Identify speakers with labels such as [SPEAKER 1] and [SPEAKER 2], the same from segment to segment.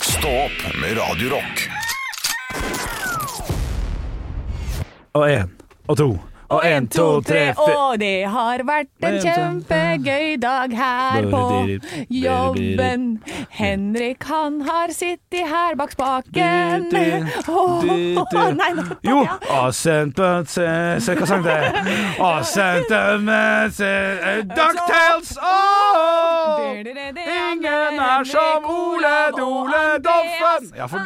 [SPEAKER 1] Stå opp med Radio Rock.
[SPEAKER 2] og én og to og én, to, tre, fire
[SPEAKER 3] Og det har vært en kjempegøy dag her på jobben. Henrik, han har sittet her bak spaken. Åh, nei, nå tar
[SPEAKER 2] Jo!
[SPEAKER 3] jeg.
[SPEAKER 2] Ascendant Se hva sang det er. Ascendant eh, Ducktails oh! Ingen er som Ole Dole Doffen. Ja, for,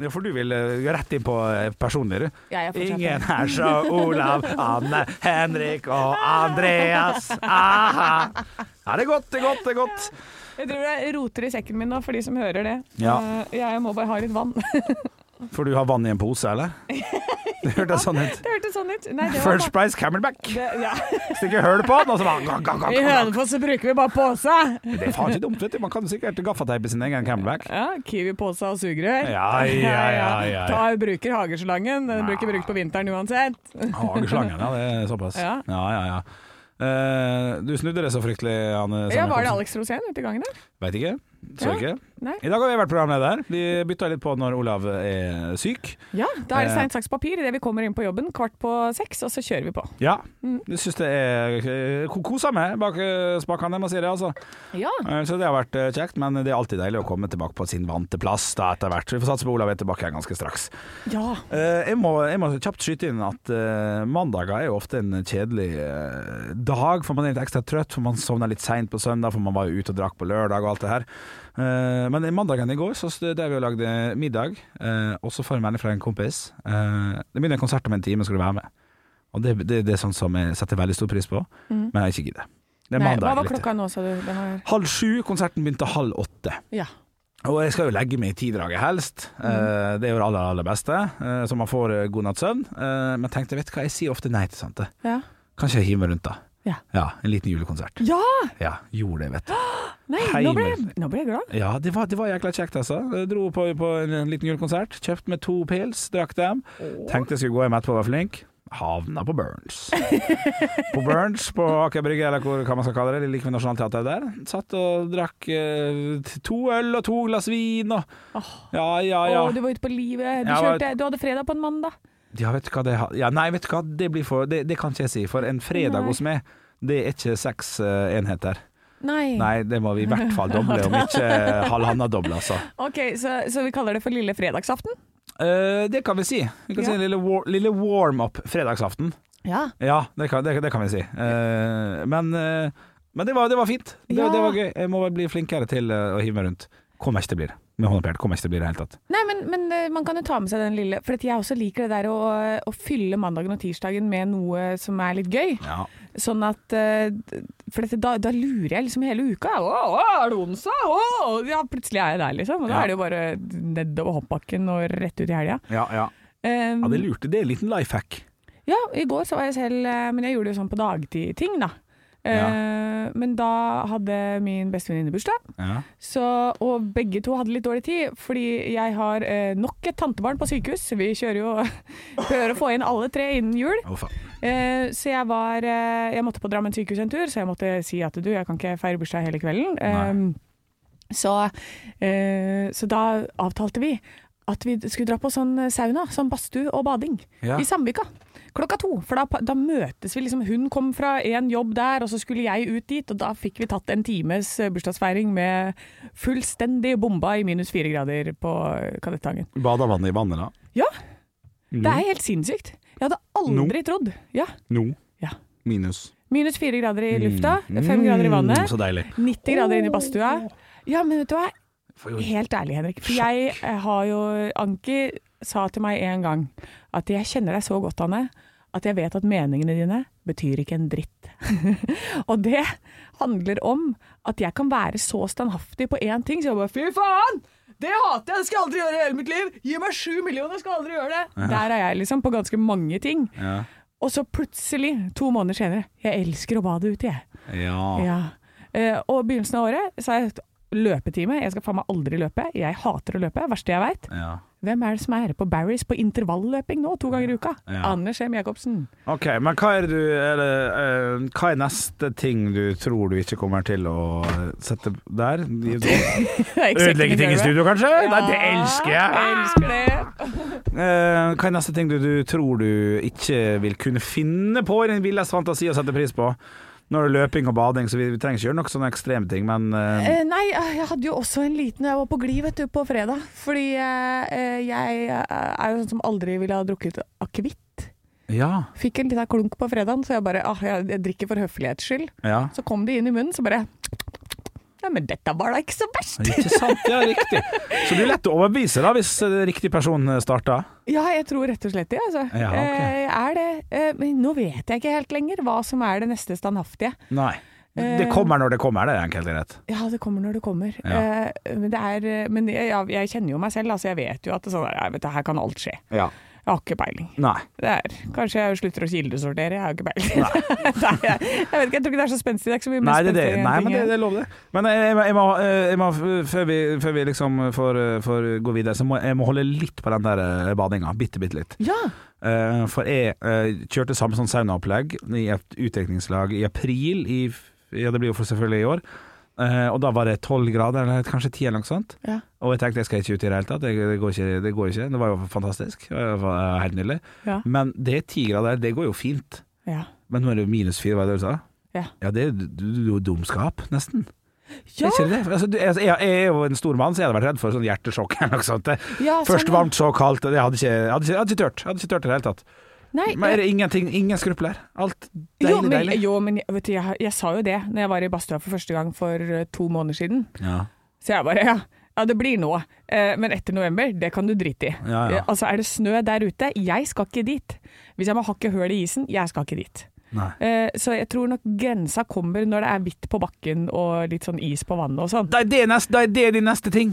[SPEAKER 2] ja, for du vil eh, rett inn på eh, personen dere.
[SPEAKER 3] Ja, jeg fortsetter.
[SPEAKER 2] Ingen er som Olav, Anne, Henrik og Andreas. Aha. Ja, det er godt, det er godt, det er godt.
[SPEAKER 3] Jeg tror jeg roter i sekken min nå, for de som hører det.
[SPEAKER 2] Ja.
[SPEAKER 3] Eh, Jeg må bare ha litt vann. Det
[SPEAKER 2] For du har vann i en pose, eller? Det hørtes sånn ut.
[SPEAKER 3] hørtes sånn ut. Nei, det var
[SPEAKER 2] First Price Camelback.
[SPEAKER 3] det, ja.
[SPEAKER 2] Stikker hull på den, og så bare gang, gang, gang,
[SPEAKER 3] I
[SPEAKER 2] gang.
[SPEAKER 3] Hønefoss så bruker vi bare pose.
[SPEAKER 2] Det er faen ikke dumt, vet du. Man kan sikkert gaffateipe sin egen camelback.
[SPEAKER 3] Ja, Kiwi-pose og sugerør.
[SPEAKER 2] Ja, ja, ja, ja.
[SPEAKER 3] Ta, bruker hageslangen. Den blir ikke brukt på vinteren uansett.
[SPEAKER 2] Hageslangen, ja. Det er såpass. Ja,
[SPEAKER 3] Ja.
[SPEAKER 2] ja, ja. Eh, du snudde det så fryktelig, Anne.
[SPEAKER 3] Ja, var det Alex Rosén ute i gangen der?
[SPEAKER 2] Veit ikke. Så ikke.
[SPEAKER 3] Nei.
[SPEAKER 2] I dag har vi vært programleder. Vi bytta litt på når Olav er syk.
[SPEAKER 3] Ja, da er det
[SPEAKER 2] Eh.
[SPEAKER 3] stein, saks, papir idet vi kommer inn på jobben kvart på seks, og så kjører vi på.
[SPEAKER 2] Ja.
[SPEAKER 3] Mm.
[SPEAKER 2] Jeg syns det er Kosa meg bak eh, spakene, må jeg si det, altså.
[SPEAKER 3] Ja.
[SPEAKER 2] Eh, Så det har vært eh, kjekt, men det er alltid deilig å komme tilbake på sin vante plass da etter hvert. Så Vi får satse på Olav er tilbake igjen ganske straks.
[SPEAKER 3] ja.
[SPEAKER 2] Eh, Jeg må, jeg må kjapt skyte inn at eh, mandager er jo ofte en kjedelig eh, dag, for man er litt ekstra trøtt, for man sovner litt seint på søndag, for man var jo ute og drakk på lørdag og alt det her. Eh, Men i mandagen i går så stod der vi og lagde middag, eh, og så får jeg melding fra en kompis. Eh, Det begynner en konsert om en time, skal du være med? Og det, det, det er sånn som jeg setter veldig stor pris på, men jeg ikke gidder. Det er
[SPEAKER 3] Mm. Nei,
[SPEAKER 2] mandag.
[SPEAKER 3] hva var
[SPEAKER 2] litt.
[SPEAKER 3] klokka nå, sa du? Den var...
[SPEAKER 2] Halv sju, konserten begynte halv åtte.
[SPEAKER 3] Ja.
[SPEAKER 2] Og jeg skal jo legge meg i tidraget helst.
[SPEAKER 3] Mm.
[SPEAKER 2] Eh, det er jo det aller, aller beste, eh, så man får eh, god natts søvn. Eh, men tenkte, vet du hva, jeg sier ofte nei til sånt. det.
[SPEAKER 3] Ja.
[SPEAKER 2] Kanskje jeg hiver meg rundt, da.
[SPEAKER 3] Ja.
[SPEAKER 2] en liten julekonsert.
[SPEAKER 3] ja!
[SPEAKER 2] Ja, gjorde det, vet du.
[SPEAKER 3] Nei,
[SPEAKER 2] Heimer.
[SPEAKER 3] nå ble, jeg, nå ble jeg glad.
[SPEAKER 2] Ja, det var, det var jækla kjekt, altså. Jeg dro på, på en, en liten julekonsert, kjøpt med to pils, drakk dem. Tenkte jeg skulle gå hjem etterpå og være flink. Havna på Burns. på Burns, på Aker Brygge, eller hvor, hva man skal kalle det, like ved Nationaltheatret der. Satt og drakk eh, t- to øl og to glass vin og Ja, ja, ja.
[SPEAKER 3] Å, du var ute på livet.
[SPEAKER 2] Jeg
[SPEAKER 3] Du,
[SPEAKER 2] var-
[SPEAKER 3] kjørte, du hadde fredag på en mandag.
[SPEAKER 2] Ja, vet du hva det har- ja, Nei, vet du hva, det blir for Det, det kan ikke jeg si, for en fredag
[SPEAKER 3] Nei.
[SPEAKER 2] hos meg, det er ikke seks eh, enheter.
[SPEAKER 3] Nei.
[SPEAKER 2] Nei, det må vi i hvert fall doble, om ikke eh, halvanna doble, altså.
[SPEAKER 3] Ok, så, så vi kaller det for lille fredagsaften?
[SPEAKER 2] Eh, det kan vi si. Vi kan
[SPEAKER 3] Ja.
[SPEAKER 2] si en lille, war lille warm-up fredagsaften.
[SPEAKER 3] Ja.
[SPEAKER 2] Ja, det kan, det, det kan vi si. Eh, men eh, men det, var, det var fint. Det,
[SPEAKER 3] Ja.
[SPEAKER 2] det var gøy. Jeg må bare bli flinkere til eh, å hive meg rundt. Kommer ikke til å bli det. Med hånda på hjertet, kommer ikke til å bli det i det hele tatt.
[SPEAKER 3] Nei, men, men eh, man kan jo ta med seg den lille For at jeg også liker det der å, å fylle mandagen og tirsdagen med noe som er litt gøy.
[SPEAKER 2] Ja.
[SPEAKER 3] Sånn at eh, d- For dette, da, da lurer jeg liksom hele uka. Å, å, er det onsdag? Å, ja, plutselig er jeg der, liksom. Og da
[SPEAKER 2] Ja.
[SPEAKER 3] er det jo bare nedover hoppbakken og rett ut i helga.
[SPEAKER 2] Ja, ja.
[SPEAKER 3] Um,
[SPEAKER 2] det lurte. Det er en liten life hack.
[SPEAKER 3] ja, i går så var jeg selv eh, Men jeg gjorde jo sånn på dagtid-ting, da. Eh, Men da hadde min bestevenninne bursdag,
[SPEAKER 2] Ja.
[SPEAKER 3] så, og begge to hadde litt dårlig tid. Fordi jeg har eh, nok et tantebarn på sykehus. Vi kjører jo prøver å få inn alle tre innen jul.
[SPEAKER 2] Å, faen.
[SPEAKER 3] Eh, så jeg var eh, Jeg måtte på Drammen sykehus en tur, så jeg måtte si at du, jeg kan ikke feire bursdag hele kvelden. Eh, så, eh, så da avtalte vi at vi skulle dra på sånn sauna, sånn badstue og bading,
[SPEAKER 2] Ja.
[SPEAKER 3] i Sandvika. Klokka to, for da, da møtes vi liksom. Hun kom fra en jobb der, og så skulle jeg ut dit. Og da fikk vi tatt en times eh, bursdagsfeiring med fullstendig bomba i minus fire grader på Kadettangen.
[SPEAKER 2] Bada vannet i vannet, da?
[SPEAKER 3] Ja,
[SPEAKER 2] Nå.
[SPEAKER 3] det
[SPEAKER 2] Mm.
[SPEAKER 3] er helt sinnssykt. Jeg hadde aldri trodd. Ja,
[SPEAKER 2] Nå.
[SPEAKER 3] ja.
[SPEAKER 2] Minus.
[SPEAKER 3] Minus fire grader i lufta, fem grader i
[SPEAKER 2] Mm,
[SPEAKER 3] vannet,
[SPEAKER 2] så deilig.
[SPEAKER 3] 90 grader inne i badstua. Ja, men vet du hva? Helt ærlig, Henrik. For jeg eh, har jo Anki sa til meg en gang at jeg kjenner deg så godt, Anne, at jeg vet at meningene dine betyr ikke en dritt. og det handler om at jeg kan være så standhaftig på én ting, så jeg bare fy faen! Det hater jeg, det skal jeg aldri gjøre i hele mitt liv! Gi meg sju millioner, jeg skal aldri gjøre det! Der er jeg liksom, på ganske mange ting.
[SPEAKER 2] Ja.
[SPEAKER 3] Og så plutselig, to måneder senere, jeg elsker å bade ute, jeg.
[SPEAKER 2] ja.
[SPEAKER 3] Ja. Eh, og begynnelsen av året sa jeg løpetime. Jeg skal faen meg aldri løpe. Jeg hater å løpe. Verste jeg veit.
[SPEAKER 2] ja.
[SPEAKER 3] Hvem er det som er på Barry's på intervalløping nå, to ganger i uka?
[SPEAKER 2] Ja.
[SPEAKER 3] Anders Hem Jacobsen.
[SPEAKER 2] OK, men hva er, det du, er det, eh, hva er neste ting du tror du ikke kommer til å sette der? Ødelegge ting i studio, kanskje? Nei, det elsker jeg! Ah.
[SPEAKER 3] elsker det.
[SPEAKER 2] Eh, hva er neste ting du, du tror du ikke vil kunne finne på i din villeste fantasi å sette pris på? Nå er det løping og bading, så vi, vi trenger ikke gjøre noen sånne ekstreme ting, men eh,
[SPEAKER 3] Eh, nei, eh, jeg hadde jo også en liten Jeg var på glid, vet du, på fredag. Fordi eh, eh, jeg eh, er jo sånn som aldri ville ha drukket akevitt.
[SPEAKER 2] ja,
[SPEAKER 3] Fikk en liten klunk på fredagen, så jeg bare ah, jeg, jeg drikker for høflighets skyld.
[SPEAKER 2] ja.
[SPEAKER 3] Så kom det inn i munnen, så bare Ja, men dette var da ikke så verst.
[SPEAKER 2] Ikke sant, ja, riktig. Så det er lett å overbevise da, hvis eh, riktig person eh, starter.
[SPEAKER 3] Ja, jeg tror rett og slett det, altså.
[SPEAKER 2] Ja, ok.
[SPEAKER 3] eh, er det. Eh, men nå vet jeg ikke helt lenger hva som er det neste standhaftige.
[SPEAKER 2] Nei. Det kommer når det kommer, det er enkelt og greit.
[SPEAKER 3] Ja, det kommer når det kommer.
[SPEAKER 2] Ja.
[SPEAKER 3] Eh, men det er, eh, men jeg, ja, jeg kjenner jo meg selv, altså. Jeg vet jo at det, er sånn, der, jeg vet, det her kan alt skje.
[SPEAKER 2] Ja.
[SPEAKER 3] Jeg har ikke peiling.
[SPEAKER 2] Nei.
[SPEAKER 3] Det er, kanskje jeg slutter å kildesortere, jeg har ikke peiling. Nei, jeg, jeg vet ikke, jeg tror ikke det er så spenstig. Det er ikke så mye
[SPEAKER 2] Nei, det,
[SPEAKER 3] mer
[SPEAKER 2] er det,
[SPEAKER 3] spenstig enn
[SPEAKER 2] nei,
[SPEAKER 3] ting
[SPEAKER 2] men det,
[SPEAKER 3] jeg-
[SPEAKER 2] det er lov, det. Men jeg, jeg, må- jeg må, eh, jeg må før, vi, før vi liksom får, eh, får gå videre, så må jeg må holde litt på den der eh, badinga. Bitte, bitte litt.
[SPEAKER 3] Ja,
[SPEAKER 2] Eh, for jeg eh, kjørte samme sånn saunaopplegg i et utdrikningslag i april, i, f- ja det blir jo for selvfølgelig i år. Eh, og da var det tolv grader, eller kanskje ti eller noe sånt.
[SPEAKER 3] Ja.
[SPEAKER 2] Og jeg tenkte jeg skal ikke ut i det hele tatt, det, det, går ikke, det går ikke. Det var jo fantastisk, det var helt nydelig.
[SPEAKER 3] Ja.
[SPEAKER 2] Men det er ti grader, det går jo fint.
[SPEAKER 3] ja.
[SPEAKER 2] Men nå er det jo minus fire, hva er det du sa?
[SPEAKER 3] Ja.
[SPEAKER 2] Ja, det er jo d- jo dumskap, nesten. Er
[SPEAKER 3] Ja,
[SPEAKER 2] ikke det? Altså, du, altså, jeg, jeg er jo en stor mann, så jeg hadde vært redd for sånn hjertesjokk eller noe sånt.
[SPEAKER 3] ja,
[SPEAKER 2] Først
[SPEAKER 3] sånn, ja.
[SPEAKER 2] varmt, så kaldt. Jeg hadde ikke, jeg hadde ikke, jeg hadde ikke tørt. Jeg hadde ikke tørt i det hele tatt.
[SPEAKER 3] Nei,
[SPEAKER 2] Men er det ingenting, ingen skrupler? Alt deilig,
[SPEAKER 3] jo, men,
[SPEAKER 2] deilig?
[SPEAKER 3] Jo, men vet du, jeg, jeg sa jo det når jeg var i badstua for første gang for eh, to måneder siden.
[SPEAKER 2] Ja.
[SPEAKER 3] Så jeg bare ja, ja det blir nå. Eh, men etter november, det kan du drite i.
[SPEAKER 2] Ja, ja.
[SPEAKER 3] Eh, altså er det snø der ute, jeg skal ikke dit. Hvis jeg må hakke høl i isen, jeg skal ikke dit.
[SPEAKER 2] Nei.
[SPEAKER 3] Eh, så jeg tror nok grensa kommer når det er hvitt på bakken og litt sånn is på vannet og sånn.
[SPEAKER 2] Det er det, neste, det er det din neste ting!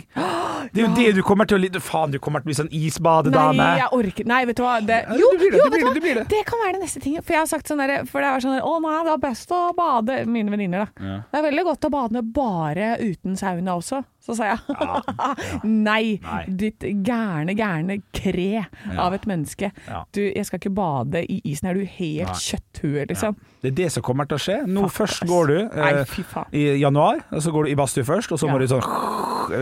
[SPEAKER 2] Det er jo det du kommer til å lide Faen, du kommer til å bli sånn isbadedame!
[SPEAKER 3] Nei, jeg orker Nei, vet du hva. Det,
[SPEAKER 2] Ja, det
[SPEAKER 3] jo,
[SPEAKER 2] blir det,
[SPEAKER 3] jo,
[SPEAKER 2] det blir
[SPEAKER 3] vet du
[SPEAKER 2] det,
[SPEAKER 3] hva?
[SPEAKER 2] det blir det.
[SPEAKER 3] kan være det neste tinget. For jeg har sagt sånn derre For det er sånn der, Å nei, det er best å bade Mine venninner, da.
[SPEAKER 2] Ja.
[SPEAKER 3] Det er veldig godt å bade bare uten sauna også. Så sa jeg
[SPEAKER 2] Ja,
[SPEAKER 3] nei,
[SPEAKER 2] Nei.
[SPEAKER 3] ditt gærne, gærne kre av et menneske.
[SPEAKER 2] Ja.
[SPEAKER 3] Du, jeg skal ikke bade i isen. Er du helt
[SPEAKER 2] Nei.
[SPEAKER 3] kjøtthue, liksom?
[SPEAKER 2] Det er det som kommer til å skje. Nå
[SPEAKER 3] Fuck,
[SPEAKER 2] først
[SPEAKER 3] ass.
[SPEAKER 2] går du
[SPEAKER 3] Nei,
[SPEAKER 2] eh,
[SPEAKER 3] fy faen.
[SPEAKER 2] i januar, og så går du i badstue først, og så
[SPEAKER 3] Ja.
[SPEAKER 2] må du sånn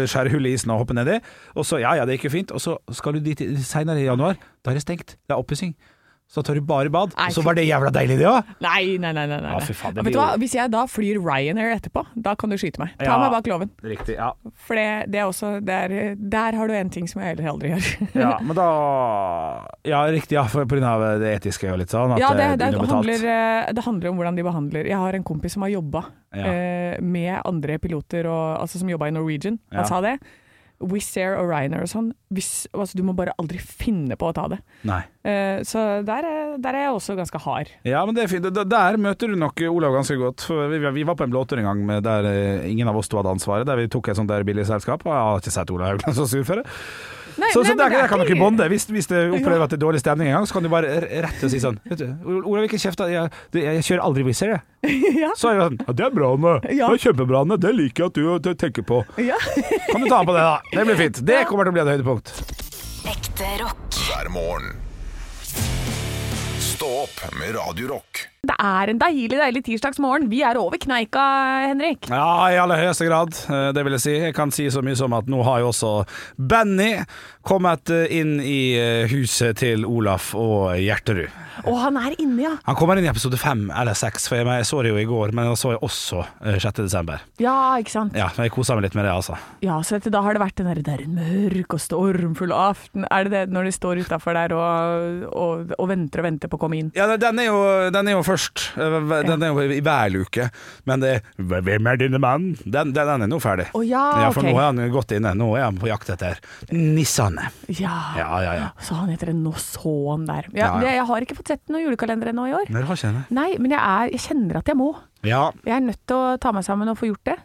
[SPEAKER 2] skjære hull i isen og hoppe nedi. Og så ja ja, det gikk jo fint. Og så skal du dit i- senere i januar. Da er det stengt. Det er oppussing. Så tar du bare bad.
[SPEAKER 3] Nei,
[SPEAKER 2] Og så
[SPEAKER 3] fy-
[SPEAKER 2] var det jævla deilig, det òg!
[SPEAKER 3] Nei, nei, nei. nei, nei.
[SPEAKER 2] Ja, fy faen, det
[SPEAKER 3] Ja, vet
[SPEAKER 2] blir
[SPEAKER 3] du hva?
[SPEAKER 2] jo-
[SPEAKER 3] Hvis jeg da flyr Ryanair etterpå, da kan du skyte meg. Ta
[SPEAKER 2] Ja.
[SPEAKER 3] meg bak loven.
[SPEAKER 2] Riktig. Ja.
[SPEAKER 3] For det, det er også der, der har du en ting som jeg heller aldri gjør.
[SPEAKER 2] ja. Men da Ja, riktig. Ja, for, på grunn av det etiske og litt sånn. At
[SPEAKER 3] Ja, det, det,
[SPEAKER 2] er underbetalt.
[SPEAKER 3] handler, eh, det handler om hvordan de behandler Jeg har en kompis som har jobba
[SPEAKER 2] Ja.
[SPEAKER 3] eh, med andre piloter, og, altså som jobba i Norwegian.
[SPEAKER 2] Ja.
[SPEAKER 3] Han sa det. Wizz Air og Ryanair og sånn. Hvis, altså, du må bare aldri finne på å ta det.
[SPEAKER 2] Nei.
[SPEAKER 3] Eh, så der, er- der er jeg også ganske hard.
[SPEAKER 2] Ja, men det er fint. Der- Der møter du nok Olav ganske godt. For vi, vi var på en blåtur en gang med- der eh, ingen av oss to hadde ansvaret, der vi tok et sånt der billig selskap. Og jeg har ikke sett Olav Haugland så sur før.
[SPEAKER 3] Nei,
[SPEAKER 2] Så, så
[SPEAKER 3] nei, men
[SPEAKER 2] der,
[SPEAKER 3] det er
[SPEAKER 2] der kan
[SPEAKER 3] ikke-
[SPEAKER 2] dere bonde. Hvis, hvis du opplever at det er dårlig stemning en gang, så kan du bare r- rette og si sånn vet du, "Ol- Olav, ikke kjeft. da. Jeg, du, jeg, jeg kjører aldri Wizz Air, jeg.
[SPEAKER 3] ja.
[SPEAKER 2] Så er det sånn Ja, det er bra, Anne.
[SPEAKER 3] Ja.
[SPEAKER 2] Det er kjempebra, Anne. Det liker jeg at du du tenker på.
[SPEAKER 3] Ja.
[SPEAKER 2] Kan du ta med på det, da? Det blir fint. Det kommer til å bli et høydepunkt.
[SPEAKER 4] Ekte rock.
[SPEAKER 1] hver morgen. Stå opp med Radio Rock.
[SPEAKER 3] Det er en deilig, deilig tirsdagsmorgen. Vi er over kneika, Henrik.
[SPEAKER 2] Ja, i aller høyeste grad, eh, det vil jeg si. Jeg kan si så mye som at nå har jo også Benny kommet eh, inn i eh, huset til Olaf og Hjerterud.
[SPEAKER 3] Og han er inne, ja.
[SPEAKER 2] Han kommer inn i episode fem eller seks, for jeg, jeg så det jo i går, men jeg så jeg også eh, 6. desember.
[SPEAKER 3] Ja, ikke sant.
[SPEAKER 2] Ja, jeg kosa meg litt med det, altså.
[SPEAKER 3] Ja, så vet du, da har det vært den der, det er en mørk og stormfull aften. Er det det når de står utafor der og, og, og venter og venter på å komme inn?
[SPEAKER 2] Ja, den er jo, den er jo først. Eh, Den er jo i hver luke. Men det er, 'Hvem er denne mannen?' Den, den, den er nå ferdig.
[SPEAKER 3] Å ja,
[SPEAKER 2] Ja, for
[SPEAKER 3] Ah, ok.
[SPEAKER 2] nå er han gått inne. Nå er han på jakt etter nissene.
[SPEAKER 3] Ja.
[SPEAKER 2] Ja, ja, ja.
[SPEAKER 3] Så han heter en Nosson der. Ja,
[SPEAKER 2] Ja, ja.
[SPEAKER 3] Det, jeg har ikke fått sett noen julekalender ennå i år.
[SPEAKER 2] Dere har ikke henne?
[SPEAKER 3] Nei, men jeg, er, jeg kjenner at jeg må.
[SPEAKER 2] Ja,
[SPEAKER 3] Jeg er nødt til å ta meg sammen og få gjort det.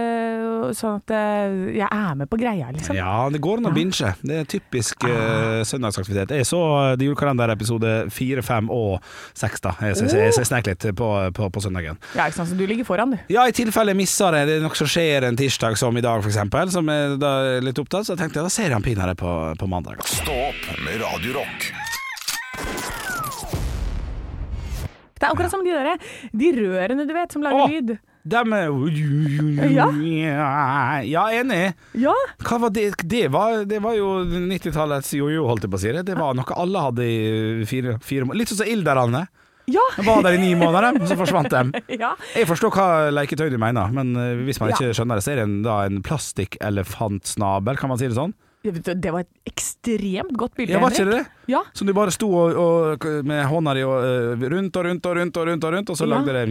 [SPEAKER 3] eh, sånn at eh, jeg er med på greia, liksom.
[SPEAKER 2] Ja, det går an å binge. Det er typisk eh, søndagsaktivitet. Jeg så eh, de julekalender episode fire, fem og seks, da. Jeg, jeg, jeg, jeg snek litt på, på, på søndagen.
[SPEAKER 3] Ja, ikke sant, så du ligger foran, du.
[SPEAKER 2] Ja, i tilfelle jeg misser det, det er noe som skjer en tirsdag som i dag, f.eks., som jeg da er litt opptatt, så tenkte jeg da ser jeg han pinadø på, på mandag.
[SPEAKER 1] Stå opp med Radio Rock.
[SPEAKER 3] Det er akkurat som de der, de rørene du vet, som lager
[SPEAKER 2] Å.
[SPEAKER 3] lyd.
[SPEAKER 2] Dem er
[SPEAKER 3] Ja.
[SPEAKER 2] Ja, enig.
[SPEAKER 3] Ja,
[SPEAKER 2] Hva var det? Det var, det var jo 90-tallets jojo, holdt jeg på å si. det. Det var noe alle hadde i fire, fire må- Litt sånn som Ilderane.
[SPEAKER 3] ja,
[SPEAKER 2] De var der i ni måneder, og så forsvant dem.
[SPEAKER 3] ja.
[SPEAKER 2] Jeg forstår hva leketøy du mener, men eh, hvis man
[SPEAKER 3] Ja.
[SPEAKER 2] ikke skjønner det, så er det en, da en plastikkelepfantsnabel, kan man si det sånn?
[SPEAKER 3] Det var et ekstremt godt bilde,
[SPEAKER 2] Ja, var ikke det det?
[SPEAKER 3] Ja.
[SPEAKER 2] Som du bare sto og, og, med hånda di og, eh, rundt og rundt og rundt og rundt, og rundt, og så
[SPEAKER 3] Ja.
[SPEAKER 2] lagde det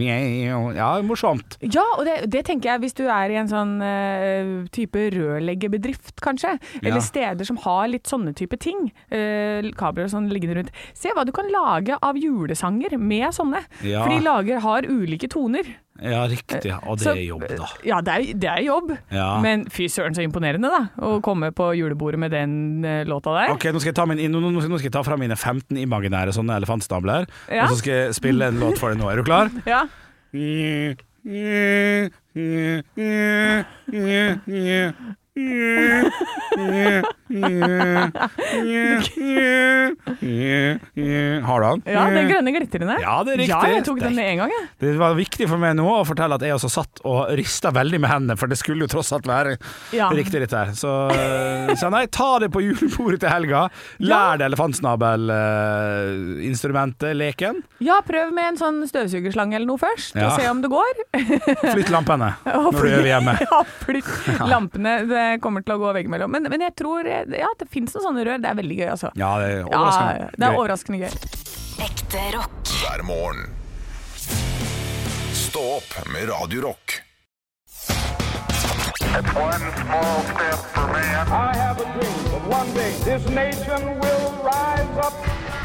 [SPEAKER 2] Ja, morsomt.
[SPEAKER 3] Ja, og det, det tenker jeg hvis du er i en sånn eh, type rørleggerbedrift, kanskje. Eller
[SPEAKER 2] Ja.
[SPEAKER 3] steder som har litt sånne type ting. eh, kabler og sånn liggende rundt. Se hva du kan lage av julesanger med sånne.
[SPEAKER 2] Ja.
[SPEAKER 3] For de lager har ulike toner.
[SPEAKER 2] Ja, riktig. ja. Og det
[SPEAKER 3] Så- eh,
[SPEAKER 2] er jobb, da.
[SPEAKER 3] Ja, det er, det er jobb.
[SPEAKER 2] Ja.
[SPEAKER 3] Men fy søren så imponerende, da. Å komme på julebordet med den eh, låta der.
[SPEAKER 2] Ok, nå skal, jeg ta min, nå, nå nå skal jeg ta fram mine 15 imaginære sånne elefantstabler,
[SPEAKER 3] Ja.
[SPEAKER 2] og så skal jeg spille en låt for deg nå. Er du klar?
[SPEAKER 3] Ja.
[SPEAKER 2] Har du han?
[SPEAKER 3] ja, den grønne glitrende.
[SPEAKER 2] Mm. Ja, det er riktig.
[SPEAKER 3] Ja, jeg tok den med en gang, jeg.
[SPEAKER 2] Det var viktig for meg nå å fortelle at jeg også satt og rista veldig med hendene, for det skulle jo tross alt være
[SPEAKER 3] Ja.
[SPEAKER 2] riktig dette her. Så, eh, så nei, ta det på julebordet til helga. Lær deg elefantsnabelinstrumentet, leken.
[SPEAKER 3] Ja, prøv med en sånn støvsugerslange eller noe først,
[SPEAKER 2] Ja.
[SPEAKER 3] og se om det går.
[SPEAKER 2] Flytt lampene
[SPEAKER 3] Og
[SPEAKER 2] når du øver hjemme.
[SPEAKER 3] Ja, flytt lampene. Det kommer til å gå veggimellom. Men, men jeg tror eh, ja, det fins noen sånne rør. Det er veldig gøy, altså.
[SPEAKER 2] Ja, det er
[SPEAKER 3] Ja,
[SPEAKER 2] overraskende.
[SPEAKER 3] det er
[SPEAKER 2] gøy.
[SPEAKER 3] overraskende gøy.
[SPEAKER 4] Ekte rock.
[SPEAKER 1] hver morgen. Stå opp med Radio Rock.
[SPEAKER 5] One small step for man.
[SPEAKER 6] I have a dream that one day this nation will rise up.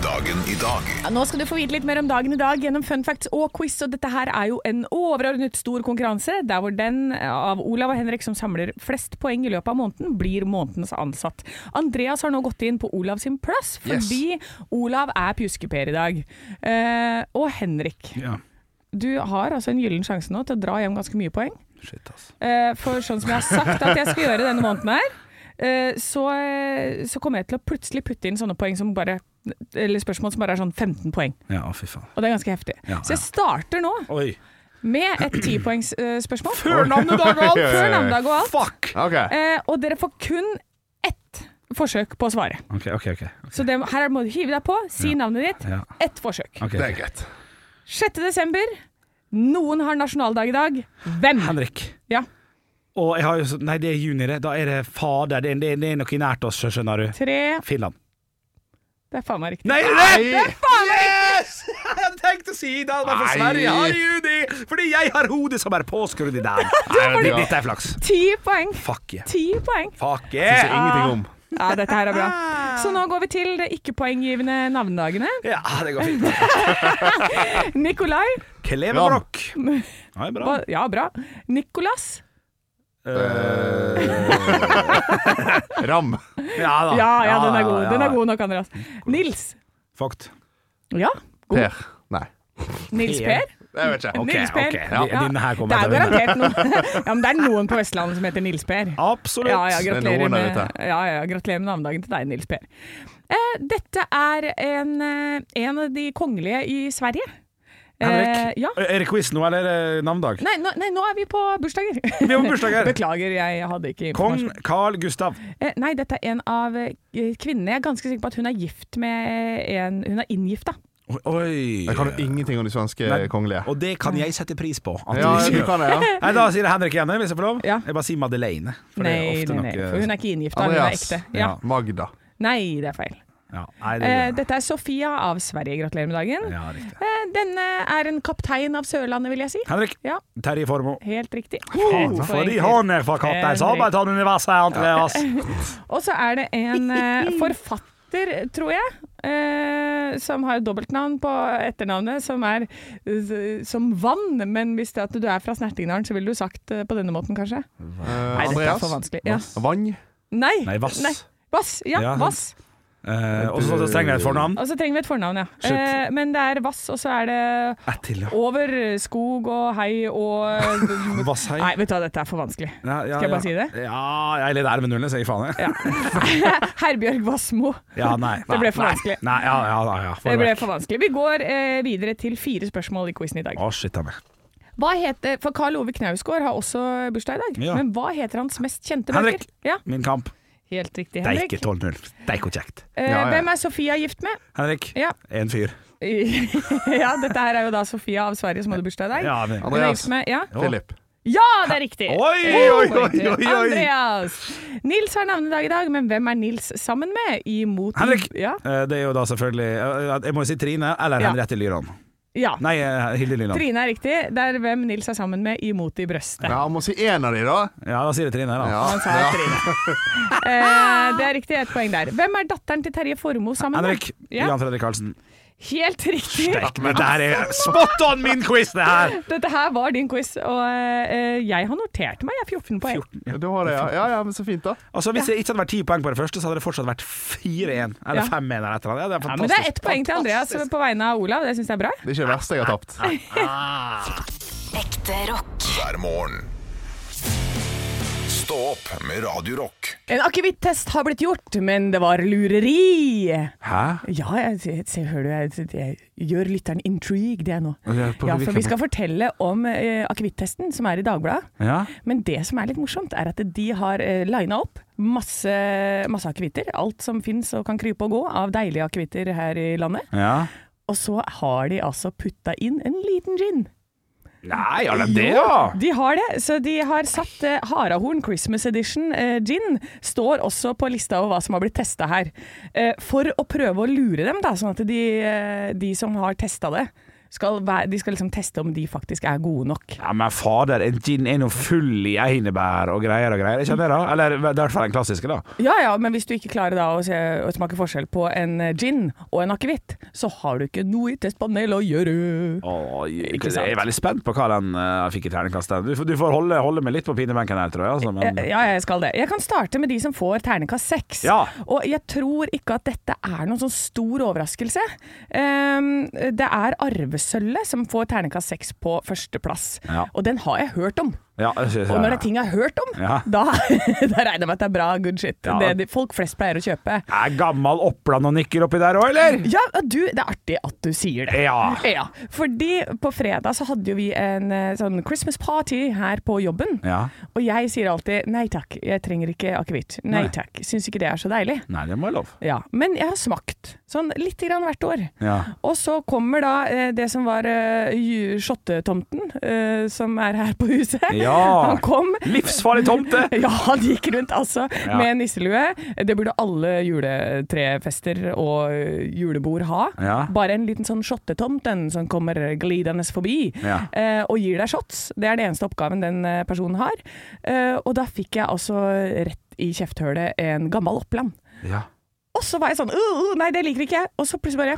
[SPEAKER 1] Dagen i dag.
[SPEAKER 3] Ja, Nå skal du få vite litt mer om dagen i dag gjennom fun facts og quiz. Og dette her er jo en overordnet stor konkurranse, der hvor den eh, av Olav og Henrik som samler flest poeng i løpet av måneden, blir månedens ansatt. Andreas har nå gått inn på Olav sin plass, fordi Olav er pjuskeper i dag. Eh, og Henrik,
[SPEAKER 2] Ja.
[SPEAKER 3] du har altså en gyllen sjanse nå til å dra hjem ganske mye poeng.
[SPEAKER 2] Shit, ass.
[SPEAKER 3] Eh, For sånn som jeg har sagt at jeg skal gjøre denne måneden her, eh, så, eh, så kommer jeg til å plutselig putte inn sånne poeng som bare eller spørsmål som bare er sånn 15 poeng,
[SPEAKER 2] Ja, fy faen.
[SPEAKER 3] og det er ganske heftig.
[SPEAKER 2] Ja,
[SPEAKER 3] Så jeg starter nå
[SPEAKER 2] Oi.
[SPEAKER 3] med et tipoengsspørsmål. Før navnedag og alt! Før navnedag og alt.
[SPEAKER 2] Fuck!
[SPEAKER 7] Ok.
[SPEAKER 3] Eh, Og dere får kun ett forsøk på å svare.
[SPEAKER 2] OK, OK. ok
[SPEAKER 3] Så det, her må du hive deg på, si navnet ditt.
[SPEAKER 2] Ja.
[SPEAKER 3] Ett forsøk.
[SPEAKER 2] Ok,
[SPEAKER 7] Det er
[SPEAKER 2] ok.
[SPEAKER 7] greit.
[SPEAKER 3] 6. desember. Noen har nasjonaldag i dag. Hvem?
[SPEAKER 2] Henrik.
[SPEAKER 3] Ja.
[SPEAKER 2] Og jeg har jo så, Nei, det er juni, det. Da er det fader. Det er, det er- det er noe nært oss, skjønner du.
[SPEAKER 3] Tre
[SPEAKER 2] Finland.
[SPEAKER 3] Det er faen meg riktig.
[SPEAKER 2] Nei, det er faen yes! Jeg hadde tenkt å si det, men for
[SPEAKER 7] Nei.
[SPEAKER 2] Sverige har juni! Fordi jeg har hodet som er påskrudd i dag.
[SPEAKER 7] Nei, men
[SPEAKER 2] Dette er flaks.
[SPEAKER 3] Ti poeng.
[SPEAKER 2] Fuck yeah.
[SPEAKER 3] Ti poeng.
[SPEAKER 2] Fuck
[SPEAKER 7] Det er
[SPEAKER 2] yeah!
[SPEAKER 7] ingenting om.
[SPEAKER 3] Ja, dette her er bra. Så nå går vi til de ikke-poenggivende navnedagene.
[SPEAKER 2] Ja, det går fint.
[SPEAKER 3] Nikolai
[SPEAKER 2] Klevebrokk. Ja, det er bra.
[SPEAKER 3] hva- Ja, bra. Nikolas. Eh,
[SPEAKER 7] Ram.
[SPEAKER 2] Eh, Ja da.
[SPEAKER 3] Ja, ja, den er god.
[SPEAKER 2] Ah. ja,
[SPEAKER 3] Den
[SPEAKER 2] ja.
[SPEAKER 3] er god nok, Andreas. Nils.
[SPEAKER 2] Fucked.
[SPEAKER 3] Ja. God.
[SPEAKER 7] Per. Nei.
[SPEAKER 3] Nils Per.
[SPEAKER 7] Jeg vet ikke.
[SPEAKER 2] Ok,
[SPEAKER 3] Nils Per.
[SPEAKER 2] ok.
[SPEAKER 3] Ja.
[SPEAKER 2] Din- Dine her
[SPEAKER 3] Det
[SPEAKER 2] kommer til
[SPEAKER 3] er
[SPEAKER 2] å vinne.
[SPEAKER 3] garantert noen Ja, men det er noen på Vestlandet som heter Nils Per.
[SPEAKER 2] Absolutt.
[SPEAKER 3] Ja, ja,
[SPEAKER 7] Det er
[SPEAKER 3] gratulerer
[SPEAKER 7] noen der
[SPEAKER 3] med,
[SPEAKER 7] ute.
[SPEAKER 3] ja, ja, gratulerer med navnedagen til deg, Nils Per. Eh, dette er en, eh, en av de kongelige i Sverige. Eh,
[SPEAKER 2] Henrik,
[SPEAKER 3] ja.
[SPEAKER 2] er det quiz nå, eller er det navndag?
[SPEAKER 3] Nei, nå, nei, nå er vi på bursdager.
[SPEAKER 2] Vi har bursdager.
[SPEAKER 3] Beklager, jeg hadde ikke
[SPEAKER 2] Kong
[SPEAKER 3] informasjon.
[SPEAKER 2] Carl Gustav.
[SPEAKER 3] Eh, Nei, dette er en av eh, kvinnene. Jeg er ganske sikker på at hun er gift med en Hun er inngifta.
[SPEAKER 2] Oi.
[SPEAKER 7] Jeg kan jo ingenting om de svenske
[SPEAKER 2] Nei.
[SPEAKER 7] kongelige.
[SPEAKER 2] Og det kan jeg sette pris på. at
[SPEAKER 7] Ja,
[SPEAKER 2] du
[SPEAKER 7] du
[SPEAKER 2] sier.
[SPEAKER 7] kan det, ja.
[SPEAKER 2] Nei, da sier jeg Henrik igjen, hvis jeg får lov.
[SPEAKER 3] Ja.
[SPEAKER 2] Jeg bare sier Madeleine. For
[SPEAKER 3] Nei,
[SPEAKER 2] det er
[SPEAKER 3] nei,
[SPEAKER 2] ofte eh,
[SPEAKER 3] nei,
[SPEAKER 2] noe
[SPEAKER 3] for hun er ikke inngifta, hun er
[SPEAKER 7] Andreas.
[SPEAKER 3] ekte. Ja.
[SPEAKER 7] Magda. Eh,
[SPEAKER 3] Nei, det er feil.
[SPEAKER 2] ja. Nei, det
[SPEAKER 3] Eh,
[SPEAKER 2] er
[SPEAKER 3] dette er Sofia av Sverige. Gratulerer med dagen.
[SPEAKER 2] ja, riktig.
[SPEAKER 3] Eh, denne er en kaptein av Sørlandet, vil jeg si.
[SPEAKER 2] Henrik.
[SPEAKER 3] Ja. Oh,
[SPEAKER 2] Terje Formoe.
[SPEAKER 3] Helt riktig.
[SPEAKER 2] Fordi han er fra Kapteinsarbeideruniverset, Andreas.
[SPEAKER 3] Og så er det en eh, forfatter, tror jeg, eh, som har dobbeltnavn på etternavnet, som er eh, som vann. Men hvis det at du er fra Snertingdalen, så ville du sagt eh, på denne måten, kanskje.
[SPEAKER 7] Eh,
[SPEAKER 3] Nei, dette er
[SPEAKER 7] Andreas.
[SPEAKER 3] for vanskelig. Ja.
[SPEAKER 7] Vann.
[SPEAKER 3] Nei.
[SPEAKER 2] Nei, Vass.
[SPEAKER 3] Vass, ja,
[SPEAKER 2] Ja, sant.
[SPEAKER 3] Vass.
[SPEAKER 2] Eh, og så trenger jeg et fornavn.
[SPEAKER 3] Og så trenger vi et fornavn, ja.
[SPEAKER 2] Shit.
[SPEAKER 3] Eh, men det er Vass, og så er det
[SPEAKER 2] Ett til, ja.
[SPEAKER 3] over skog og hei og
[SPEAKER 2] Vasshei.
[SPEAKER 3] Nei, vet du hva, dette er for vanskelig.
[SPEAKER 2] Ja, ja,
[SPEAKER 3] Skal jeg bare
[SPEAKER 2] ja.
[SPEAKER 3] si det?
[SPEAKER 2] Ja, jeg er litt ære med nullene, sier jeg faen. jeg.
[SPEAKER 3] Herbjørg Wassmo.
[SPEAKER 2] Ja, nei, nei,
[SPEAKER 3] Det ble for
[SPEAKER 2] nei.
[SPEAKER 3] vanskelig.
[SPEAKER 2] Nei, ja, ja, ja, ja.
[SPEAKER 3] Det ble for vanskelig. Vi går eh, videre til fire spørsmål i quizen i dag.
[SPEAKER 2] Å, shit, da meg.
[SPEAKER 3] Hva heter, for Karl Ove Knausgård har også bursdag i dag.
[SPEAKER 2] Ja.
[SPEAKER 3] Men hva heter hans mest kjente
[SPEAKER 2] Henrik.
[SPEAKER 3] bøker? Ja,
[SPEAKER 2] Min kamp.
[SPEAKER 3] helt riktig,
[SPEAKER 2] Det er
[SPEAKER 3] Henrik.
[SPEAKER 2] ikke 12-0. Det er ikke kjekt.
[SPEAKER 3] Eh,
[SPEAKER 7] Ja, ja.
[SPEAKER 3] Hvem er Sofia gift med?
[SPEAKER 2] Henrik,
[SPEAKER 3] Ja.
[SPEAKER 2] en fyr.
[SPEAKER 3] ja, dette her er jo da Sofia av Sverige som hadde bursdag i dag.
[SPEAKER 2] Ja, men,
[SPEAKER 3] Hun er
[SPEAKER 7] Andreas.
[SPEAKER 3] gift med, ja.
[SPEAKER 7] Philip.
[SPEAKER 3] ja, det er riktig!
[SPEAKER 2] Oi,
[SPEAKER 3] Eh,
[SPEAKER 2] oi,
[SPEAKER 3] poeng til
[SPEAKER 2] oi, oi, oi.
[SPEAKER 3] Andreas! Nils har navnedag i dag, men hvem er Nils sammen med? I mot
[SPEAKER 2] Henrik!
[SPEAKER 3] Mm, Ja,
[SPEAKER 2] eh, det er jo da selvfølgelig eh, Jeg må jo si Trine eller
[SPEAKER 3] Ja.
[SPEAKER 2] Henriette Lyran.
[SPEAKER 3] ja.
[SPEAKER 2] Nei, eh, Hilde Lyran.
[SPEAKER 3] Trine er riktig. Det er hvem Nils er sammen med i mot i brøstet.
[SPEAKER 7] Ja, må si én av de, da.
[SPEAKER 2] Ja, da sier jeg Trine, da.
[SPEAKER 7] Ja.
[SPEAKER 3] Han sa Trine. Eh, det er riktig, ett poeng der. Hvem er datteren til Terje Formoe sammen med?
[SPEAKER 2] Henrik.
[SPEAKER 3] Ja,
[SPEAKER 2] Jan Fredrik Karlsen.
[SPEAKER 3] helt riktig.
[SPEAKER 2] Men det her er spot on min quiz, det her!
[SPEAKER 3] Dette her var din quiz, og eh, jeg har notert meg. Jeg er 14 poeng.
[SPEAKER 7] Du har det, ja. ja. Ja, men så fint, da.
[SPEAKER 2] Altså, Hvis det ikke hadde vært ti poeng på det første, så hadde det fortsatt vært 4-1. Eller
[SPEAKER 3] Ja.
[SPEAKER 2] 5-1 eller et eller annet. Ja, det er
[SPEAKER 3] Ja, men det er
[SPEAKER 2] fantastisk.
[SPEAKER 3] ett poeng til Andreas på vegne av Olav. Det syns jeg er bra.
[SPEAKER 7] Det er ikke det verste jeg har tapt.
[SPEAKER 4] Ekte rock.
[SPEAKER 1] hver morgen. Stå opp med Radio Rock.
[SPEAKER 3] En akevitt-test har blitt gjort, men det var lureri.
[SPEAKER 2] Hæ?
[SPEAKER 3] Ja, jeg, jeg, se, hører du, jeg, jeg, gjør lytteren intrigued, jeg nå.
[SPEAKER 2] Ja, på
[SPEAKER 3] Ja, for
[SPEAKER 2] hvilken
[SPEAKER 3] vi skal fortelle om eh, akevitt-testen som er i Dagbladet.
[SPEAKER 2] Ja.
[SPEAKER 3] Men det som er litt morsomt, er at de har eh, lina opp masse, masse akevitter. Alt som fins og kan krype og gå av deilige akevitter her i landet.
[SPEAKER 2] ja.
[SPEAKER 3] Og så har de altså putta inn en liten gin.
[SPEAKER 2] Nei, har de det, ja?
[SPEAKER 3] De har det, så de har satt eh, Harahorn Christmas Edition eh, gin. Står også på lista over hva som har blitt testa her. Eh, for å prøve å lure dem, da, sånn at de, eh, de som har testa det, skal, væ- de skal liksom teste om de faktisk er gode nok.
[SPEAKER 2] Ja, men fader, en gin er nå full i einebær og greier og greier. Ikke sant det, da? Eller det er i hvert fall den klassiske, da.
[SPEAKER 3] Ja ja, men hvis du ikke klarer da å, se, å smake forskjell på en eh, gin og en akevitt, så har du ikke noe i testpanel å gjøre.
[SPEAKER 2] Åh, jeg,
[SPEAKER 3] Eh, Ikke sant?
[SPEAKER 2] jeg er veldig spent på hva den eh, fikk i terningkast. den. Du, får- du får holde, holde meg litt på pinebenken her, tror jeg. Altså, men
[SPEAKER 3] Eh, Ja, jeg skal det. Jeg kan starte med de som får ternekast seks.
[SPEAKER 2] Ja.
[SPEAKER 3] Og jeg tror ikke at dette er noen sånn stor overraskelse. Ehm, det er arvesølvet som får ternekast seks på førsteplass.
[SPEAKER 2] Ja.
[SPEAKER 3] Og den har jeg hørt om.
[SPEAKER 2] ja, jeg synes-
[SPEAKER 3] Og når det er ting jeg har hørt om,
[SPEAKER 2] Ja.
[SPEAKER 3] da, da regner jeg med at det er bra good shit.
[SPEAKER 2] Ja.
[SPEAKER 3] Det de, folk flest pleier å kjøpe.
[SPEAKER 2] Er gammel Oppland og nikker oppi der òg, eller?
[SPEAKER 3] Ja, og du, det er artig at du sier det.
[SPEAKER 2] Ja.
[SPEAKER 3] ja. Fordi på fredag så hadde jo vi en eh, sånn Christmas party her på jobben.
[SPEAKER 2] Ja.
[SPEAKER 3] Og jeg sier alltid nei takk, jeg trenger ikke akevitt. Nei
[SPEAKER 2] Nei.
[SPEAKER 3] takk, syns ikke det er så deilig.
[SPEAKER 2] Nei, det må jeg lov.
[SPEAKER 3] Ja, Men jeg har smakt, sånn lite grann hvert år.
[SPEAKER 2] Ja.
[SPEAKER 3] Og så kommer da eh, det som var eh, ju- Skjottetomten, eh, som er her på huset.
[SPEAKER 2] Ja.
[SPEAKER 3] Han kom.
[SPEAKER 2] Livsfarlig tomte!
[SPEAKER 3] Ja, han gikk rundt altså
[SPEAKER 2] Ja.
[SPEAKER 3] med nisselue. Det burde alle juletrefester og eh, julebord ha.
[SPEAKER 2] Ja.
[SPEAKER 3] Bare en liten sånn skjottetomt den som kommer glidende forbi
[SPEAKER 2] Ja.
[SPEAKER 3] eh, og gir deg shots. Det er den eneste oppgaven den eh, personen har. Eh, og da fikk jeg altså rett i kjefthølet en gammel Oppland.
[SPEAKER 2] Ja.
[SPEAKER 3] Og så var jeg sånn uh, uh, Nei, det liker ikke jeg. Og så plutselig bare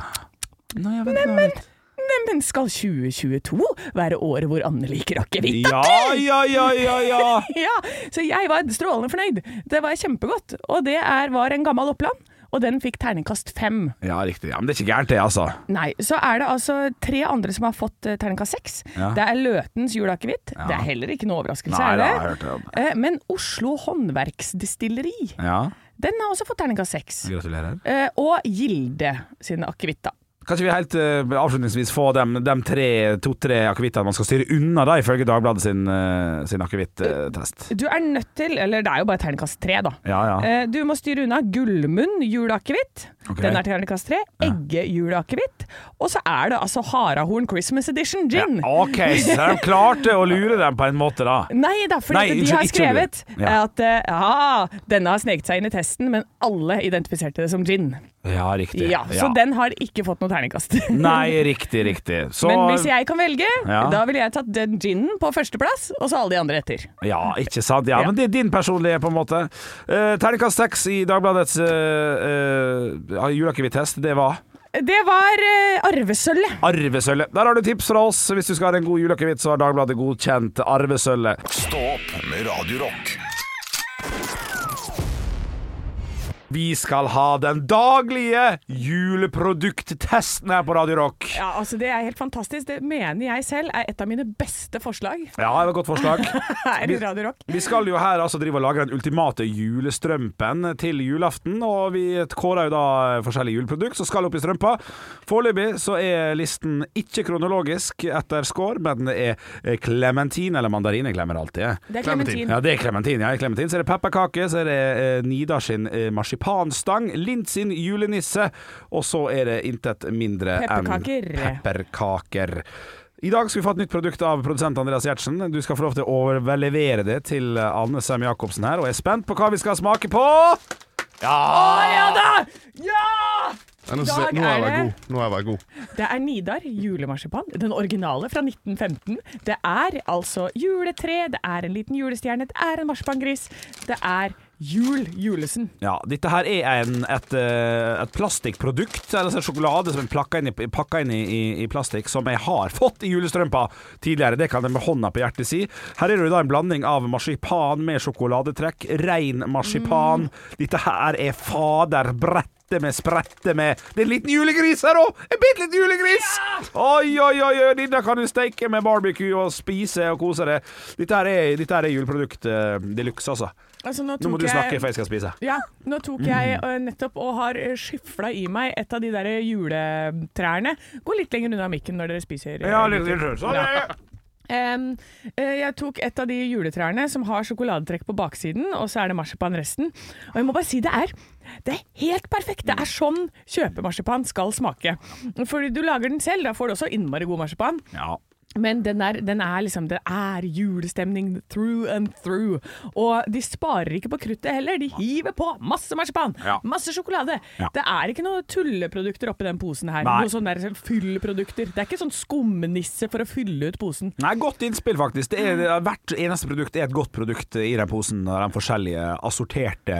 [SPEAKER 2] Nei, jeg vet ikke.
[SPEAKER 3] Neimen, skal 2022 være året hvor Anne liker akevitt?
[SPEAKER 2] Ja, ja, ja, ja, ja.
[SPEAKER 3] Ja, så jeg var strålende fornøyd. Det var kjempegodt. Og det er, var en gammel Oppland, og den fikk terningkast fem.
[SPEAKER 2] Ja, riktig. Ja, men det er ikke gærent, det, altså.
[SPEAKER 3] Nei, så er det altså tre andre som har fått eh, terningkast seks.
[SPEAKER 2] Ja.
[SPEAKER 3] Det er Løtens juleakevitt.
[SPEAKER 2] Ja.
[SPEAKER 3] Det er heller ikke noe overraskelse,
[SPEAKER 2] Nei, da
[SPEAKER 3] er det?
[SPEAKER 2] har jeg hørt det om det.
[SPEAKER 3] Eh, Men Oslo Håndverksdistilleri,
[SPEAKER 2] Ja.
[SPEAKER 3] den har også fått terningkast seks.
[SPEAKER 2] Gratulerer.
[SPEAKER 3] Eh, Og Gilde sin akevitt, da.
[SPEAKER 2] Kanskje vi helt eh, avslutningsvis får de, tre, to-tre akevittene man skal styre unna, da, ifølge Dagbladet sin, uh, sin akevitttest.
[SPEAKER 3] Du er nødt til, eller det er jo bare terningkast tre, da.
[SPEAKER 2] Ja, ja.
[SPEAKER 3] Eh, Du må styre unna Gullmunn juleakevitt.
[SPEAKER 2] Ok.
[SPEAKER 3] Den er terningkast tre. Egge juleakevitt. fest. Og så er det altså Harahorn Christmas Edition gin.
[SPEAKER 2] OK, så de klarte å lure dem på en måte, da.
[SPEAKER 3] Nei da, for
[SPEAKER 2] Nei,
[SPEAKER 3] de
[SPEAKER 2] unnskyld,
[SPEAKER 3] har
[SPEAKER 2] ikke lure.
[SPEAKER 3] skrevet
[SPEAKER 2] Ja.
[SPEAKER 3] at eh, ah, denne har sneket seg inn i testen, men alle identifiserte det som gin.
[SPEAKER 2] Ja, riktig.
[SPEAKER 3] Ja, Så den har ikke fått noe terningkast.
[SPEAKER 2] Nei, riktig, riktig. Så
[SPEAKER 3] Men hvis jeg kan velge,
[SPEAKER 2] Ja.
[SPEAKER 3] da ville jeg tatt den ginen på førsteplass, og så alle de andre etter.
[SPEAKER 2] Ja, ikke sant? Ja,
[SPEAKER 3] Ja.
[SPEAKER 2] men det er din personlige, på en måte. Eh, Terningkast seks i Dagbladets uh, uh, juleakevittest, det var
[SPEAKER 3] Det var eh, arvesølvet.
[SPEAKER 2] arvesølvet. Der har du tips fra oss. Hvis du skal ha en god juleakevitt, så har Dagbladet godkjent arvesølvet.
[SPEAKER 1] Stå opp med Radio Rock.
[SPEAKER 2] Vi skal ha den daglige juleprodukttesten her på Radio Rock.
[SPEAKER 3] Ja, altså Det er helt fantastisk. Det mener jeg selv er et av mine beste forslag
[SPEAKER 2] Ja, det var et godt forslag.
[SPEAKER 3] her i Radio Rock.
[SPEAKER 2] Vi skal jo her altså drive og lage den ultimate julestrømpen til julaften, og vi kårer jo da forskjellige juleprodukt som skal opp i strømpa. Foreløpig så er listen ikke kronologisk etter score, men det er eh, klementin, eller mandarin, jeg glemmer alltid. jeg.
[SPEAKER 3] Det er
[SPEAKER 7] Clementine.
[SPEAKER 3] klementin.
[SPEAKER 2] Ja, det er klementin. Ja, klementin. Så er det pepperkake, så er det eh, Nidar sin eh, marsipanstang, Lind sin julenisse, og så er det intet mindre enn
[SPEAKER 3] Pepperkaker.
[SPEAKER 2] pepperkaker. I dag skal vi få et nytt produkt av produsent Andreas Gjertsen. Du skal få lov til å overlevere det til eh, Anne Sem Jacobsen her, og er spent på hva vi skal smake på.
[SPEAKER 3] Å
[SPEAKER 2] Ja!
[SPEAKER 3] ja da! Ja!
[SPEAKER 7] Ja, nå,
[SPEAKER 3] I
[SPEAKER 7] synes jeg-
[SPEAKER 3] dag
[SPEAKER 7] nå har jeg
[SPEAKER 3] er
[SPEAKER 7] vært
[SPEAKER 3] det-
[SPEAKER 7] god. Nå har jeg vært god.
[SPEAKER 3] Det er Nidar julemarsipan, den originale fra 1915. Det er altså juletre, det er en liten julestjerne, det er en marsipangris. Det er Jul Julesen.
[SPEAKER 2] Ja, dette her er en, et, eh, et plastikkprodukt, eller altså sjokolade som er plakka inn, i, pakka inn i, i, i plastikk, som jeg har fått i julestrømpa tidligere. Det kan jeg med hånda på hjertet si. Her er det jo da en blanding av marsipan med sjokoladetrekk, rein marsipan. Dette her er fader brette med sprette med Det er en liten julegris her òg! En bitte liten julegris! Oi, oi, oi, oi, denne kan du steike med barbecue og spise og kose deg. Dette her er, dette her er juleprodukt uh, de luxe, altså.
[SPEAKER 3] Altså,
[SPEAKER 2] Nå må
[SPEAKER 3] tok
[SPEAKER 2] du
[SPEAKER 3] jeg-
[SPEAKER 2] snakke, Mm. for jeg skal spise.
[SPEAKER 3] Ja, nå tok jeg ø, nettopp og har skyfla i meg et av de der juletrærne. Gå litt lenger unna mikken når dere spiser. eh, ø,
[SPEAKER 2] Ja,
[SPEAKER 3] gutter.
[SPEAKER 2] litt sånn.
[SPEAKER 3] Em, ø, jeg tok et av de juletrærne som har sjokoladetrekk på baksiden, og så er det marsipan resten. Og jeg må bare si det er det er helt perfekt. Det er sånn kjøpemarsipan skal smake. Fordi du lager den selv, da får du også innmari god marsipan.
[SPEAKER 2] Ja.
[SPEAKER 3] Men den er, den er liksom Det er julestemning through and through. Og de sparer ikke på kruttet heller. De hiver på masse marsipan,
[SPEAKER 2] Ja.
[SPEAKER 3] masse sjokolade.
[SPEAKER 2] Ja.
[SPEAKER 3] Det er ikke noe tulleprodukter oppi den posen her.
[SPEAKER 2] Nei.
[SPEAKER 3] Noe sånn der fyllprodukter. Det er ikke sånn skumnisse for å fylle ut posen.
[SPEAKER 2] Nei, godt innspill, faktisk. Det er, hvert eneste produkt er et godt produkt i den posen, og de forskjellige assorterte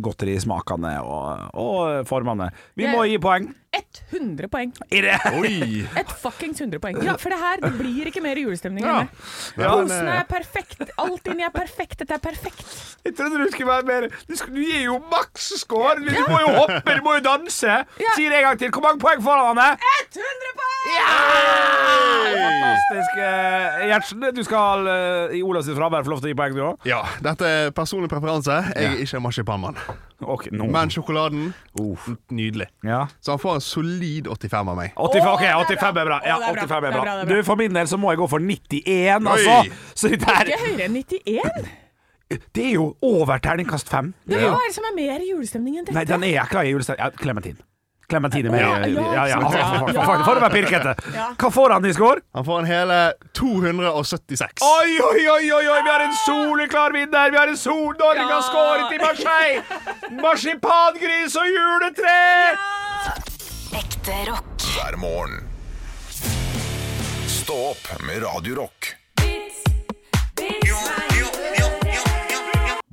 [SPEAKER 2] godterismakene og, og formene. Vi må gi poeng.
[SPEAKER 3] 100 poeng.
[SPEAKER 2] I det.
[SPEAKER 7] Oi!
[SPEAKER 3] Et fuckings 100 poeng. Ja, for det her det blir ikke mer julestemning
[SPEAKER 7] Ja.
[SPEAKER 3] enn det.
[SPEAKER 7] Ja, men,
[SPEAKER 3] Posen
[SPEAKER 7] eh,
[SPEAKER 3] er perfekt. Alt inni er perfekt. Dette er perfekt.
[SPEAKER 2] Jeg trodde du skulle være mer Du, skulle, du gir jo maks score! Du må jo hoppe, du må jo danse! Si det en gang til. Hvor mange poeng får han, Anne?
[SPEAKER 3] 100 poeng!
[SPEAKER 2] Fantastisk. eh, Gjertsen, du skal eh, i Olavs fravær få lov til å gi poeng, du òg?
[SPEAKER 7] ja, dette er personlig preferanse. Jeg er ikke en marsipanmann.
[SPEAKER 2] Okay, nå.
[SPEAKER 7] Men sjokoladen nydelig.
[SPEAKER 2] Ja.
[SPEAKER 7] Så han får en solid 85 av meg.
[SPEAKER 2] 85, ok,
[SPEAKER 3] Å, det er
[SPEAKER 2] 85 er bra.
[SPEAKER 3] bra.
[SPEAKER 2] Ja,
[SPEAKER 3] Å, det er
[SPEAKER 2] 85
[SPEAKER 3] bra.
[SPEAKER 2] er
[SPEAKER 3] Det er
[SPEAKER 2] bra.
[SPEAKER 3] bra, det er
[SPEAKER 2] Du,
[SPEAKER 3] bra.
[SPEAKER 2] for min del så må jeg gå for 91,
[SPEAKER 7] Oi.
[SPEAKER 2] altså. Så det,
[SPEAKER 3] Ikke
[SPEAKER 2] er,
[SPEAKER 3] høyere enn 91.
[SPEAKER 2] det er jo over terningkast 5.
[SPEAKER 3] Ja, men Hva er det som er mer julestemning enn dette?
[SPEAKER 2] Nei, den er ikke i julestjernen. Ja, Clementine. Clementine med.
[SPEAKER 3] Ja,
[SPEAKER 2] Ja,
[SPEAKER 3] ja,
[SPEAKER 2] ja. ja,
[SPEAKER 3] absolutt.
[SPEAKER 2] for-
[SPEAKER 3] Ja.
[SPEAKER 2] for- for- For å være pirkete. Hva får han i score?
[SPEAKER 7] Han får en hele 276.
[SPEAKER 2] Oi, oi, oi, oi, oi, vi har en soleklar vinner! Vi har en sol... Norge har skåret i Marseille! Marsipangris og juletre!
[SPEAKER 4] Ekte rock.
[SPEAKER 1] Hver morgen. Stå opp med Radio Rock.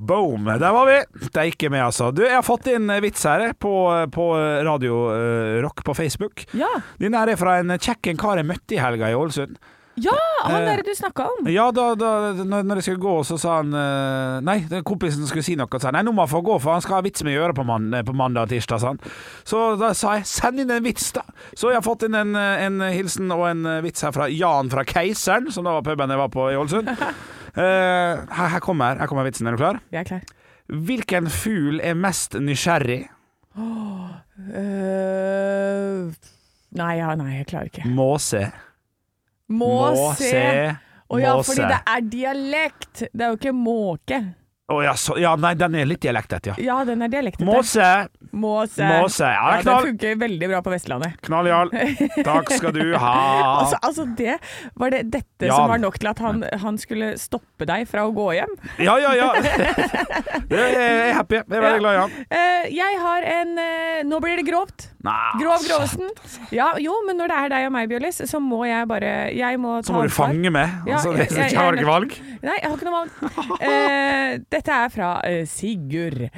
[SPEAKER 2] Boom, der var vi. Det er ikke med, altså. Du, jeg har fått inn eh, vits her eh, på, på Radio eh, Rock på Facebook.
[SPEAKER 3] Ja.
[SPEAKER 2] Den her er fra en kjekk en kar jeg møtte i helga i Ålesund.
[SPEAKER 3] Ja, han
[SPEAKER 2] Eh,
[SPEAKER 3] derre du snakka om.
[SPEAKER 2] Ja, da, da når, når jeg skulle gå, så sa han eh, Nei, den kompisen skulle si noe. Sa han, nei, nå må han få gå, for han skal ha vits med å gjøre på, man, eh, på mandag og tirsdag. Sa han. Så da sa jeg send inn en vits, da. Så jeg har fått inn en, eh, en hilsen og en eh, vits her fra Jan fra Keiseren, som da var puben jeg var på i Ålesund. Eh, her, her, kommer, her kommer vitsen. Er du klar?
[SPEAKER 3] Jeg er klar.
[SPEAKER 2] Hvilken fugl er mest nysgjerrig?
[SPEAKER 3] Eh, nei, ja, nei, jeg klarer ikke.
[SPEAKER 2] Måse.
[SPEAKER 3] Må, se. Å ja, fordi det er dialekt. Det er jo ikke måke.
[SPEAKER 2] Å ja, så, ja, nei, den er litt dialektet, ja.
[SPEAKER 3] Ja, den er dialektete.
[SPEAKER 2] Måse.
[SPEAKER 3] Måse.
[SPEAKER 2] Måse, ja, det er
[SPEAKER 3] det
[SPEAKER 2] knall.
[SPEAKER 3] funker veldig bra på Vestlandet.
[SPEAKER 2] Knall, Jarl. Takk skal du ha.
[SPEAKER 3] Altså, altså det var det dette
[SPEAKER 2] Ah. Ja.
[SPEAKER 3] som var nok til at han, han skulle stoppe deg fra å gå hjem.
[SPEAKER 2] Ja, ja, ja. Det er- Jeg er happy. Jeg er veldig glad i han.
[SPEAKER 3] Eh, jeg har en eh, Nå blir det grovt.
[SPEAKER 2] Nei,
[SPEAKER 3] Grov Grovesen.
[SPEAKER 2] altså.
[SPEAKER 3] Ja, jo, men når det er deg og meg, Bjørlis, så må jeg bare jeg må ta
[SPEAKER 2] Så må du
[SPEAKER 3] ansvar.
[SPEAKER 2] fange meg.
[SPEAKER 3] Ja,
[SPEAKER 2] Altså,
[SPEAKER 3] jeg-
[SPEAKER 2] det,
[SPEAKER 3] jeg-
[SPEAKER 2] jeg har ikke valg.
[SPEAKER 3] Nei, jeg har ikke noe valg. Eh, dette er fra eh, Sigurd.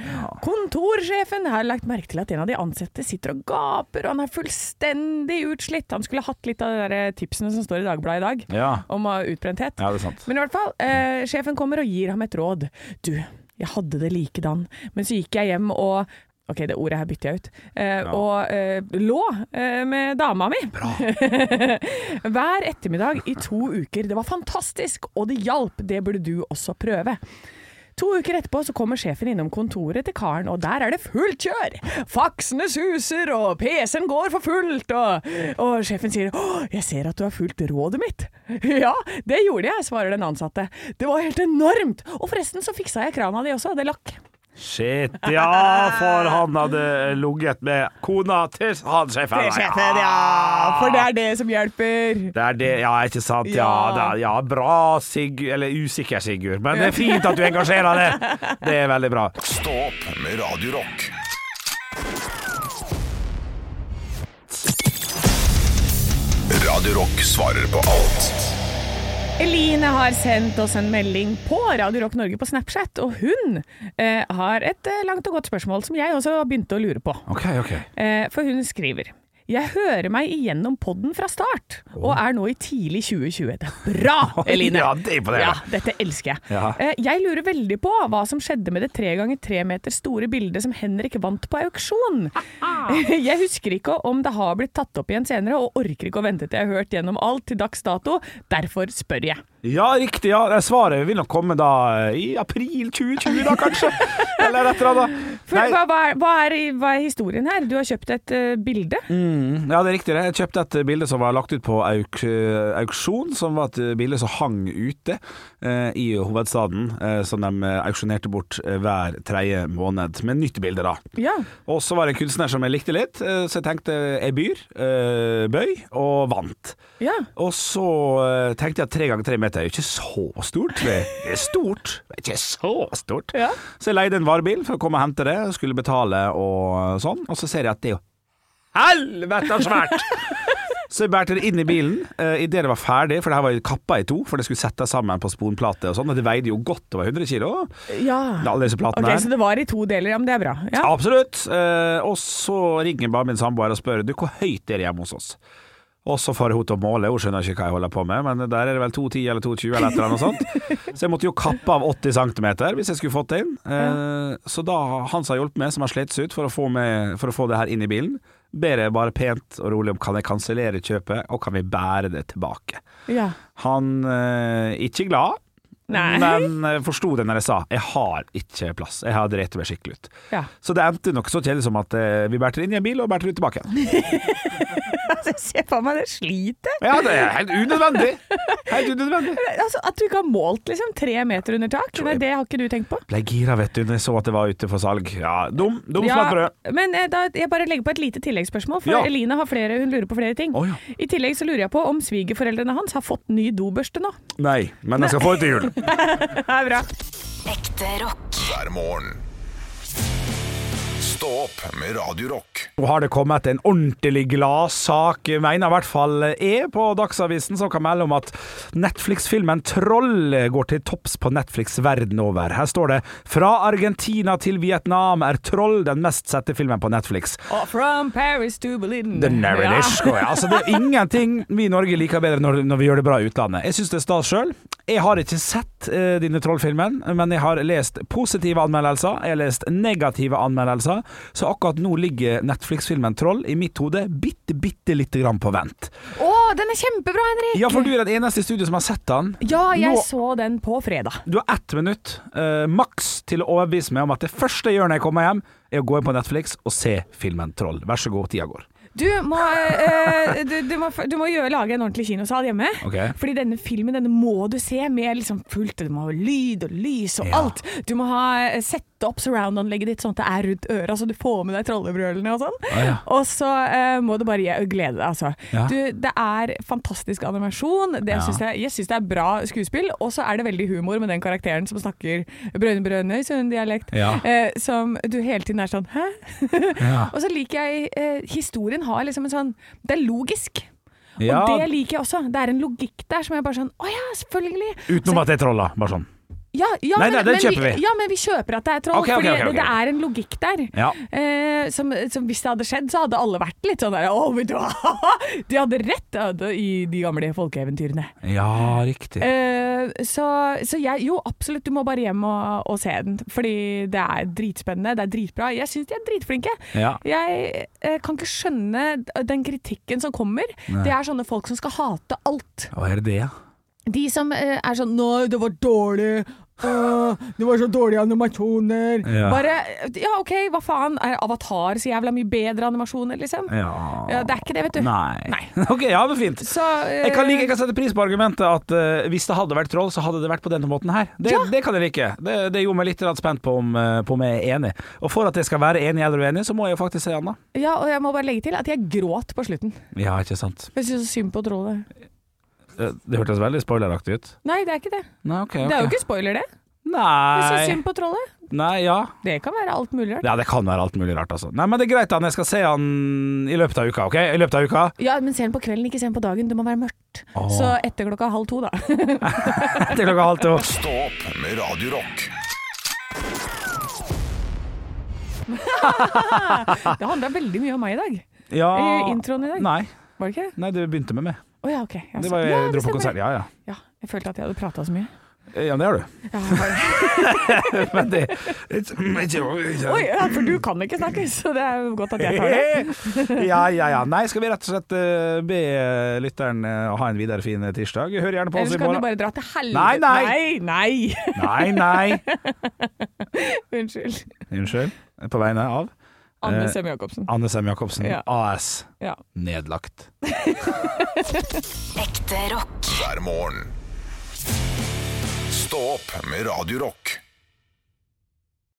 [SPEAKER 3] Kontorsjefen har lagt merke til at en av de ansatte sitter og gaper, og han er fullstendig utslitt. Han skulle hatt litt av de der tipsene som står i Dagbladet i dag,
[SPEAKER 2] Ja.
[SPEAKER 3] om eh, utbrenthet.
[SPEAKER 2] ja, det er sant.
[SPEAKER 3] Men i hvert fall, eh, sjefen kommer og gir ham et råd. Du, jeg hadde det likedan, men så gikk jeg hjem og Ok, det ordet her bytter jeg ut. Eh, Og eh, lå eh, med dama mi. Hver ettermiddag i to uker. Det var fantastisk, og det hjalp. Det burde du også prøve. To uker etterpå så kommer sjefen innom kontoret til karen, og der er det fullt kjør! Faksene suser, og PC-en går for fullt, og, og sjefen sier 'Å, jeg ser at du har fulgt rådet mitt'. 'Ja, det gjorde jeg', svarer den ansatte. 'Det var helt enormt'. Og forresten så fiksa jeg krana di også, det lakk.
[SPEAKER 2] Shit, ja, for han hadde ligget med kona til han sjefen.
[SPEAKER 3] For det er det som hjelper.
[SPEAKER 2] Det er det, ja, ikke sant? Ja,
[SPEAKER 3] Ja.
[SPEAKER 2] det er, ja bra, Sigurd. Eller usikker, Sigurd. Men det er fint at du engasjerer deg. Det er veldig bra.
[SPEAKER 1] Stå opp med Radio Rock. Radio Rock svarer på alt.
[SPEAKER 3] Eline har sendt oss en melding på Radio Rock Norge på Snapchat, og hun eh, har et eh, langt og godt spørsmål som jeg også begynte å lure på.
[SPEAKER 2] OK, OK.
[SPEAKER 3] Eh, for hun skriver jeg hører meg igjennom podden fra start, og er nå i tidlig 2020. Det er bra, Eline!
[SPEAKER 2] Ja, det er imponerende.
[SPEAKER 3] Ja, dette elsker jeg.
[SPEAKER 2] Ja.
[SPEAKER 3] Eh, Jeg lurer veldig på hva som skjedde med det tre ganger tre meter store bildet som Henrik vant på auksjon. Jeg husker ikke om det har blitt tatt opp igjen senere, og orker ikke å vente til jeg har hørt gjennom alt til dags dato. Derfor spør jeg.
[SPEAKER 2] Ja, riktig. ja Svaret vil nok komme da eh, i april 2020, da kanskje. Eller et eller annet.
[SPEAKER 3] For, hva, hva, er, hva, er, hva er historien her? Du har kjøpt et eh, bilde.
[SPEAKER 2] Mm. Ja, det er riktig. det. Jeg kjøpte et bilde som var lagt ut på auk eh, auksjon, som var et bilde som hang ute eh, i hovedstaden, eh, som de eh, auksjonerte bort eh, hver tredje måned, med nytt bilde, da.
[SPEAKER 3] Ja.
[SPEAKER 2] Og så var det en kunstner som jeg likte litt, eh, så jeg tenkte jeg byr, eh, bøy, og vant.
[SPEAKER 3] ja.
[SPEAKER 2] Og så eh, tenkte jeg at tre ganger tre meter er jo ikke så stort. Det det er stort, men ikke så stort.
[SPEAKER 3] Ja.
[SPEAKER 2] Så jeg leide en varebil for å komme og hente det, skulle betale og sånn. Og så ser jeg at det er jo helvete svært! Så jeg bærte det inn i bilen eh, idet det var ferdig, for det her var jo kappa i to, for det skulle settes sammen på sponplate og sånn, og det veide jo godt over 100 kilo.
[SPEAKER 3] ja.
[SPEAKER 2] Alle disse platene
[SPEAKER 3] Ok,
[SPEAKER 2] her.
[SPEAKER 3] Så det var i to deler, ja, men det er bra. Ja.
[SPEAKER 2] Absolutt. Eh, og så ringer bare min samboer og spør Du, hvor høyt er det hjemme hos oss. Og så får hun til å måle, hun skjønner ikke hva jeg holder på med, men der er det vel 2,10 eller 2,20 eller et eller annet sånt. Så jeg måtte jo kappe av 80 cm hvis jeg skulle fått det inn. Eh, Så da han som har hjulpet meg, som har slitt seg ut for å, få meg, for å få det her inn i bilen, ber jeg bare pent og rolig om kan jeg kansellere kjøpet, og kan vi bære det tilbake.
[SPEAKER 3] Ja.
[SPEAKER 2] Han eh, ikke glad,
[SPEAKER 3] Nei.
[SPEAKER 2] men eh, forsto det når jeg sa jeg har ikke plass, jeg har drept meg skikkelig ut.
[SPEAKER 3] Ja.
[SPEAKER 2] Så det endte nok så kjedelig som at eh, vi bærte det inn i en bil og bærte det ut tilbake.
[SPEAKER 3] Altså, Se for meg det slitet.
[SPEAKER 2] Ja, det er helt unødvendig. Helt unødvendig.
[SPEAKER 3] Altså, at du ikke har målt liksom, tre meter under tak, nei, det har ikke du tenkt på.
[SPEAKER 2] Ble gira, vet du, når jeg så at det var ute for salg. Ja, dum, dum ja.
[SPEAKER 3] Ja,
[SPEAKER 2] flatbrød.
[SPEAKER 3] men eh, da, jeg bare legger på et lite tilleggsspørsmål, for
[SPEAKER 2] Ja.
[SPEAKER 3] Eline har flere, hun lurer på flere ting.
[SPEAKER 2] Å, ja.
[SPEAKER 3] I tillegg så lurer jeg på om svigerforeldrene hans har fått ny dobørste nå.
[SPEAKER 2] Nei, men jeg skal få det til jul.
[SPEAKER 3] Det er bra.
[SPEAKER 4] Ekte rock.
[SPEAKER 1] hver morgen. Stå opp med Radio Rock.
[SPEAKER 2] Nå har det kommet en ordentlig gladsak, mener i hvert fall jeg, på Dagsavisen, som kan melde om at Netflix-filmen 'Troll' går til topps på Netflix verden over. Her står det 'Fra Argentina til Vietnam er 'Troll' den mest sette filmen på Netflix'.
[SPEAKER 3] Og from Paris to Berlin.
[SPEAKER 2] The Narradish.
[SPEAKER 3] Ja.
[SPEAKER 2] Ja. Altså, det er ingenting vi i Norge liker bedre når, når vi gjør det bra i utlandet. Jeg syns det er stas sjøl. Jeg har ikke sett eh, dine Troll-filmen, men jeg har lest positive anmeldelser. Jeg har lest negative anmeldelser, så akkurat nå ligger Netflix-filmen Troll i mitt hode bitte, bitte lite grann på vent.
[SPEAKER 3] Å, den er kjempebra, Henrik!
[SPEAKER 2] Ja, for du er den eneste i studio som har sett den.
[SPEAKER 3] Ja, jeg
[SPEAKER 2] Nå-
[SPEAKER 3] så den på fredag.
[SPEAKER 2] Du har ett minutt eh, maks til å overbevise meg om at det første jeg gjør når jeg kommer hjem, er å gå inn på Netflix og se filmen Troll. Vær så god, tida går.
[SPEAKER 3] Du må, eh, eh, du, du må, du må gjøre, lage en ordentlig kinosal hjemme.
[SPEAKER 2] Ok.
[SPEAKER 3] Fordi denne filmen denne må du se med liksom fullt Du må ha lyd og lys og
[SPEAKER 2] Ja.
[SPEAKER 3] alt. Du må ha eh, sett sette opp surround-anlegget ditt sånn at det er rundt øra, så du får med deg trollebrølene og sånn.
[SPEAKER 2] Ja, ja.
[SPEAKER 3] Og så eh, må du bare gi- glede deg, altså.
[SPEAKER 2] Ja.
[SPEAKER 3] Du, det er fantastisk animasjon.
[SPEAKER 2] Ja.
[SPEAKER 3] Det synes jeg, jeg syns det er bra skuespill, og så er det veldig humor med den karakteren som snakker Brønnøy-Brønnøysund-dialekt,
[SPEAKER 2] Ja.
[SPEAKER 3] eh, som du hele tiden er sånn Hæ?
[SPEAKER 2] Ja.
[SPEAKER 3] Og så liker jeg eh, Historien har liksom en sånn Det er logisk.
[SPEAKER 2] Ja,
[SPEAKER 3] Og det liker jeg også. Det er en logikk der som jeg bare sånn Å ja, selvfølgelig.
[SPEAKER 2] utenom at det er troller, bare sånn.
[SPEAKER 3] Ja, ja,
[SPEAKER 2] Nei, nei,
[SPEAKER 3] men,
[SPEAKER 2] det
[SPEAKER 3] men
[SPEAKER 2] kjøper vi.
[SPEAKER 3] Ja, men vi kjøper at det er troll,
[SPEAKER 2] Ok, ok,
[SPEAKER 3] fordi
[SPEAKER 2] ok, ok.
[SPEAKER 3] Det, det er en logikk der.
[SPEAKER 2] Ja.
[SPEAKER 3] Eh, som, som hvis det hadde skjedd, så hadde alle vært litt sånn der Å, vet du hva, de hadde rett ja, det- i de gamle folkeeventyrene.
[SPEAKER 2] Ja, riktig.
[SPEAKER 3] Eh, så, så jeg Jo, absolutt, du må bare hjem og, og se den. Fordi det er dritspennende, det er dritbra. Jeg syns de er dritflinke.
[SPEAKER 2] Ja.
[SPEAKER 3] Jeg eh, kan ikke skjønne den kritikken som kommer. Det er sånne folk som skal hate alt.
[SPEAKER 2] Hva er det, ja?
[SPEAKER 3] De som eh, er sånn 'nei, det var dårlig'. «Åh, det var så dårlige animasjoner.
[SPEAKER 2] Ja.
[SPEAKER 3] Bare Ja, OK, hva faen. Er Avatar så jævla mye bedre animasjoner, liksom?
[SPEAKER 2] Ja.
[SPEAKER 3] Ja, det er ikke det, vet du.
[SPEAKER 2] Nei. Ok, ja, men fint.
[SPEAKER 3] Så eh,
[SPEAKER 2] Jeg kan, like, jeg kan sette pris på argumentet at eh, hvis det hadde vært troll, så hadde det vært på denne måten her. Det, det kan jeg like. Det, det gjorde meg litt grann spent på om, eh, på om jeg er enig. Og for at jeg skal være enig eller uenig, så må jeg jo faktisk si Anna.
[SPEAKER 3] Ja, og jeg må bare legge til at jeg gråt på slutten.
[SPEAKER 2] Ja, ikke sant.
[SPEAKER 3] Jeg syns så synd på trollet.
[SPEAKER 2] Eh, Det hørtes veldig spoileraktig ut.
[SPEAKER 3] Nei, det er ikke det.
[SPEAKER 2] Nei, ok,
[SPEAKER 3] Det er jo
[SPEAKER 2] ok.
[SPEAKER 3] ikke spoiler, det. Jeg syns
[SPEAKER 2] Nei.
[SPEAKER 3] synd på trollet.
[SPEAKER 2] Nei, ja.
[SPEAKER 3] Det kan være alt mulig rart.
[SPEAKER 2] Ja, det kan være alt mulig rart, altså. Nei, men det er greit, Anne. Jeg skal se han i løpet av uka, OK? I løpet av uka.
[SPEAKER 3] Ja, men se den på kvelden, ikke se den på dagen. Det må være mørkt.
[SPEAKER 2] Åh.
[SPEAKER 3] Så etter klokka halv to, da.
[SPEAKER 2] Til klokka halv to.
[SPEAKER 1] Stå opp med Radio Rock.
[SPEAKER 3] Det handla veldig mye om meg i dag.
[SPEAKER 2] Ja
[SPEAKER 3] Eh, introen i dag?
[SPEAKER 2] Nei.
[SPEAKER 3] Var det ikke det?
[SPEAKER 2] Nei, det begynte med meg.
[SPEAKER 3] Å ja, OK. Ja,
[SPEAKER 2] Det
[SPEAKER 3] så-
[SPEAKER 2] var jeg
[SPEAKER 3] Altså, ja,
[SPEAKER 2] dro på
[SPEAKER 3] stemmer.
[SPEAKER 2] konsert. Ja, ja.
[SPEAKER 3] Ja, jeg følte at jeg hadde prata så mye.
[SPEAKER 2] Ja, det har du.
[SPEAKER 3] Ja, jeg har-
[SPEAKER 2] Men det Ikke
[SPEAKER 3] Oi, ja, for du kan ikke snakke, så det er jo godt at jeg tar det.
[SPEAKER 2] ja, ja, ja. Nei, skal vi rett og slett eh, be lytteren eh, ha en videre fin tirsdag? Hør gjerne på oss
[SPEAKER 3] Ellers
[SPEAKER 2] i
[SPEAKER 3] kan du
[SPEAKER 2] morgen.
[SPEAKER 3] bare dra til helvete.
[SPEAKER 2] Nei, nei.
[SPEAKER 3] nei, nei.
[SPEAKER 2] Nei, nei.
[SPEAKER 3] Unnskyld.
[SPEAKER 2] Unnskyld. På vegne av
[SPEAKER 3] Anne
[SPEAKER 2] Eh,
[SPEAKER 3] Sem-Jacobsen.
[SPEAKER 2] Anne Sem Jacobsen
[SPEAKER 3] Ja.
[SPEAKER 2] AS.
[SPEAKER 3] Ja.
[SPEAKER 2] Nedlagt.
[SPEAKER 4] Ekte rock.
[SPEAKER 1] hver morgen. Stå opp med Radio Rock.